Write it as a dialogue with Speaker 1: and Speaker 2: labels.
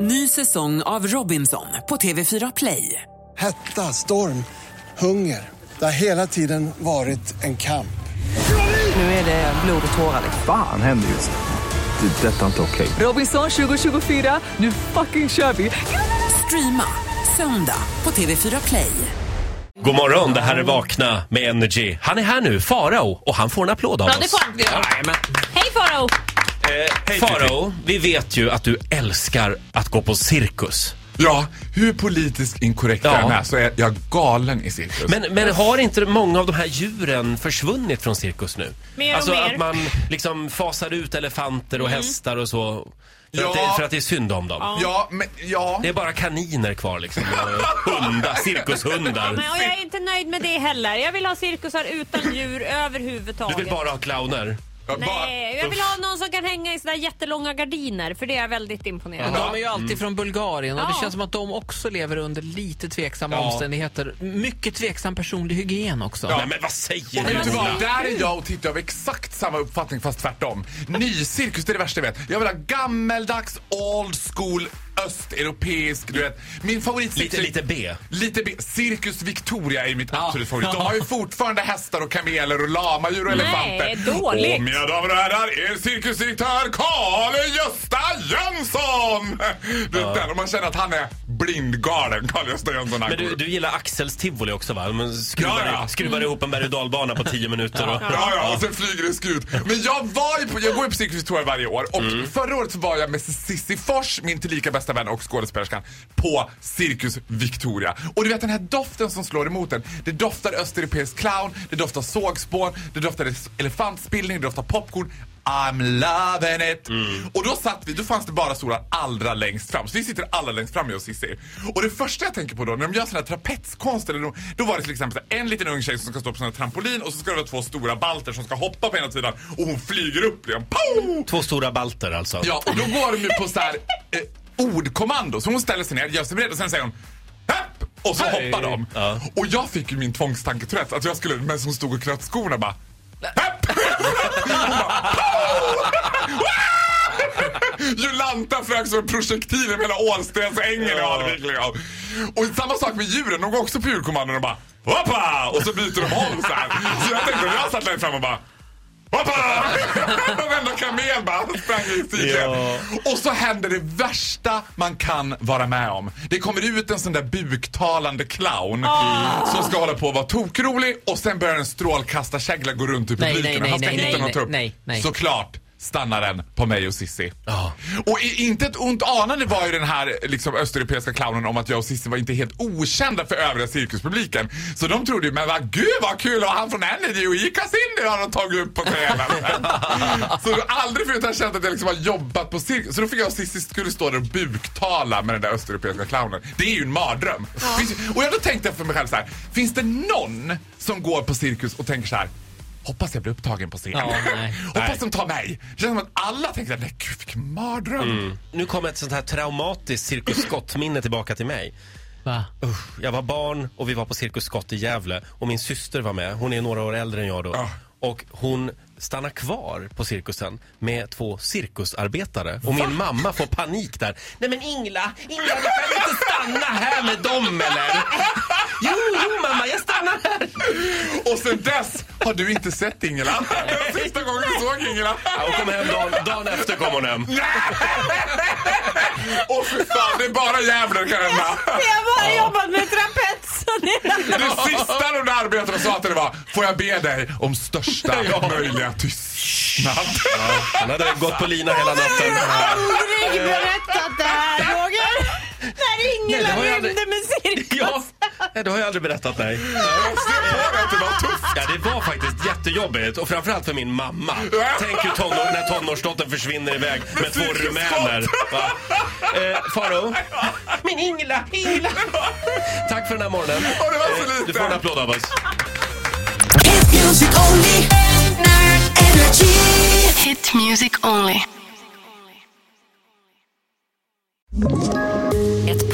Speaker 1: Ny säsong av Robinson på TV4 Play.
Speaker 2: Hetta, storm, hunger. Det har hela tiden varit en kamp.
Speaker 1: Nu är det blod och tårar.
Speaker 3: Fan händer just nu. Det. är Detta är inte okej.
Speaker 1: Robinson 2024, nu fucking kör vi! Streama söndag på TV4 Play.
Speaker 4: God morgon, det här är Vakna med Energy. Han är här nu, Farao, och han får en applåd av
Speaker 5: Ja,
Speaker 4: oss.
Speaker 5: det får han. Hej Farao!
Speaker 4: Farao, vi vet ju att du älskar att gå på cirkus.
Speaker 6: Ja, hur politiskt inkorrekt
Speaker 4: Ja.
Speaker 6: jag den är så är jag galen i cirkus.
Speaker 4: Men, men har inte många av de här djuren försvunnit från cirkus nu?
Speaker 5: Mer och
Speaker 4: alltså
Speaker 5: mer. Mm.
Speaker 4: att man liksom fasar ut elefanter och hästar och så. För,
Speaker 6: Ja.
Speaker 4: att det, för att det är synd om dem.
Speaker 6: Ja, men ja.
Speaker 4: Det är bara kaniner kvar liksom. och Hundar, cirkushundar.
Speaker 5: Men, och jag är inte nöjd med det heller. Jag vill ha cirkusar utan djur överhuvudtaget.
Speaker 4: Du vill bara ha clowner.
Speaker 6: Jag bara-
Speaker 5: Nej, jag vill ha någon som kan hänga i sådär jättelånga gardiner för det är jag väldigt imponerad av.
Speaker 7: De är ju alltid från Bulgarien och det
Speaker 5: Ja.
Speaker 7: känns som att de också lever under lite tveksamma
Speaker 4: Ja.
Speaker 7: omständigheter. Mycket tveksam personlig hygien också.
Speaker 4: Nej men vad säger
Speaker 6: Vet
Speaker 4: du?
Speaker 6: du vad? Där är jag och Titti av exakt samma uppfattning fast tvärtom. Ny cirkus det är det värsta jag vet. Jag vill ha gammeldags old school östeuropeisk, du vet. Min favorit
Speaker 4: Lite, lite B.
Speaker 6: Lite be- Cirkus Victoria är mitt
Speaker 7: Ja.
Speaker 6: absolut favorit. De har ju fortfarande hästar och kameler och lamadjur och
Speaker 5: Nej,
Speaker 6: elefanter.
Speaker 5: dåligt.
Speaker 6: Och mina damer och herrar, er cirkusdirektör Karl-Gösta Jönsson! Det är den, och man känner att han är blindgalen, Karl-Gösta Jönsson.
Speaker 4: Men du, du gillar Axels tivoli också va? Man skruvar,
Speaker 6: Ja, ja.
Speaker 4: skruvar ihop en berg och dalbana på 10 minuter. Och...
Speaker 6: Ja, ja, och sen flyger det skut. Men jag var ju på, jag går ju på Cirkus Victoria varje år och förra året så var jag med Cissi Fors, min tillika bästa vän och skådespelerskan, på Cirkus Victoria. Och du vet den här doften som slår emot en. Det doftar östeuropeisk clown, det doftar sågspån, det doftar elefantspillning, det doftar popcorn. I'm loving it! Och då satt vi, då fanns det bara stolar allra längst fram. Så vi sitter allra längst fram jag och Cissi. Och det första jag tänker på då, när de gör såna här trapetskonster, eller de- då var det till exempel så här, en liten ung tjej som ska stå på sån här trampolin och så ska det vara två stora balter som ska hoppa på ena sidan och hon flyger upp liksom. Pow!
Speaker 4: Två stora balter alltså.
Speaker 6: Ja, och då går de ju på så här eh, ordkommando. Så hon ställer sig ner, gör sig beredd och sen säger hon Häpp! Och så
Speaker 4: Hej!
Speaker 6: hoppar de.
Speaker 4: Ja.
Speaker 6: Och jag fick ju min tvångstanke Tourettes, att jag skulle, men som stod och knöt skorna bara Häpp! Hon bara, "Pow!" Jolanta flög som en projektil över hela Ålstens ängel i Alvik. liksom. Och samma sak med djuren, de går också på djurkommandon och bara Hoppa! Och så byter de om så här. Så jag tänkte, jag satt längst fram och bara Hoppa! Varenda kamel bara sprang i stigen.
Speaker 4: Ja.
Speaker 6: Och så händer det värsta man kan vara med om. Det kommer ut en sån där buktalande clown
Speaker 7: Ah.
Speaker 6: som ska hålla på och vara tokrolig och sen börjar en strålkastarkägla gå runt i
Speaker 7: Nej,
Speaker 6: publiken.
Speaker 7: nej,
Speaker 6: och Han ska
Speaker 7: nej, nej,
Speaker 6: hitta
Speaker 7: nej,
Speaker 6: någon trupp.
Speaker 7: nej, nej.
Speaker 6: Såklart stannar den på mig och Sissi.
Speaker 4: Ja.
Speaker 6: Och i, inte ett ont anande var ju den här liksom, östeuropeiska clownen om att jag och Sissi var inte helt okända för övriga cirkuspubliken. Så de trodde ju, men vad gud vad kul och han från Energy och i Cassini har de tagit upp på scenen. så aldrig förut har jag känt att jag liksom har jobbat på cirkus. Så då fick jag och Sissi skulle stå där och buktala med den där östeuropeiska clownen. Det är ju en mardröm. Finns, och jag då tänkte jag för mig själv så här, finns det någon som går på cirkus och tänker så här, hoppas jag blir upptagen på scen.
Speaker 7: Ja, nej.
Speaker 6: hoppas de tar mig. Det känns som att alla tänker att nej gud vilken mardröm.
Speaker 5: Mm.
Speaker 4: Mm. Nu kommer ett sånt här traumatiskt Cirkus Scott-minne tillbaka till mig.
Speaker 7: Va?
Speaker 4: Usch, jag var barn och vi var på Cirkus Scott i Gävle och min syster var med. Hon är några år äldre än jag då.
Speaker 6: Ja.
Speaker 4: Och hon stannar kvar på cirkusen med två cirkusarbetare. Och min mamma får panik där. Nej men Ingla, Ingla du kan inte stanna här med dem eller? Jo, jo mamma, jag stannar här.
Speaker 6: Och sen dess har du inte sett Ingela. Det var sista gången du såg Ingela.
Speaker 4: Ja, hon kom hem dagen, dagen efter kom hon hem.
Speaker 6: Åh fy fan, det är bara jävlar kan hända.
Speaker 5: Jag har bara jobbat med trapetsen hela
Speaker 6: Det sista de där arbetarna sa till det var, får jag be dig om största möjliga tystnad.
Speaker 4: Hon hade gått på lina hela natten.
Speaker 5: aldrig berättat det här Roger! När
Speaker 4: Nej, det har jag aldrig-
Speaker 5: med cirkus.
Speaker 4: Ja, nej, det har jag aldrig berättat nej.
Speaker 6: Se på dig att det var tufft.
Speaker 4: Ja, det var faktiskt jättejobbigt och framförallt för min mamma. Tänk hur tonår, när tonårsdottern försvinner iväg med två
Speaker 6: Cirkus
Speaker 4: rumäner. va? Eh, Faro. Min Ingela, Ingela. Tack för den här morgonen.
Speaker 6: det var så
Speaker 4: Eh, Du
Speaker 6: lite.
Speaker 4: får en applåd av oss.
Speaker 8: Hit music only. Energy. Hit music only.
Speaker 9: Ett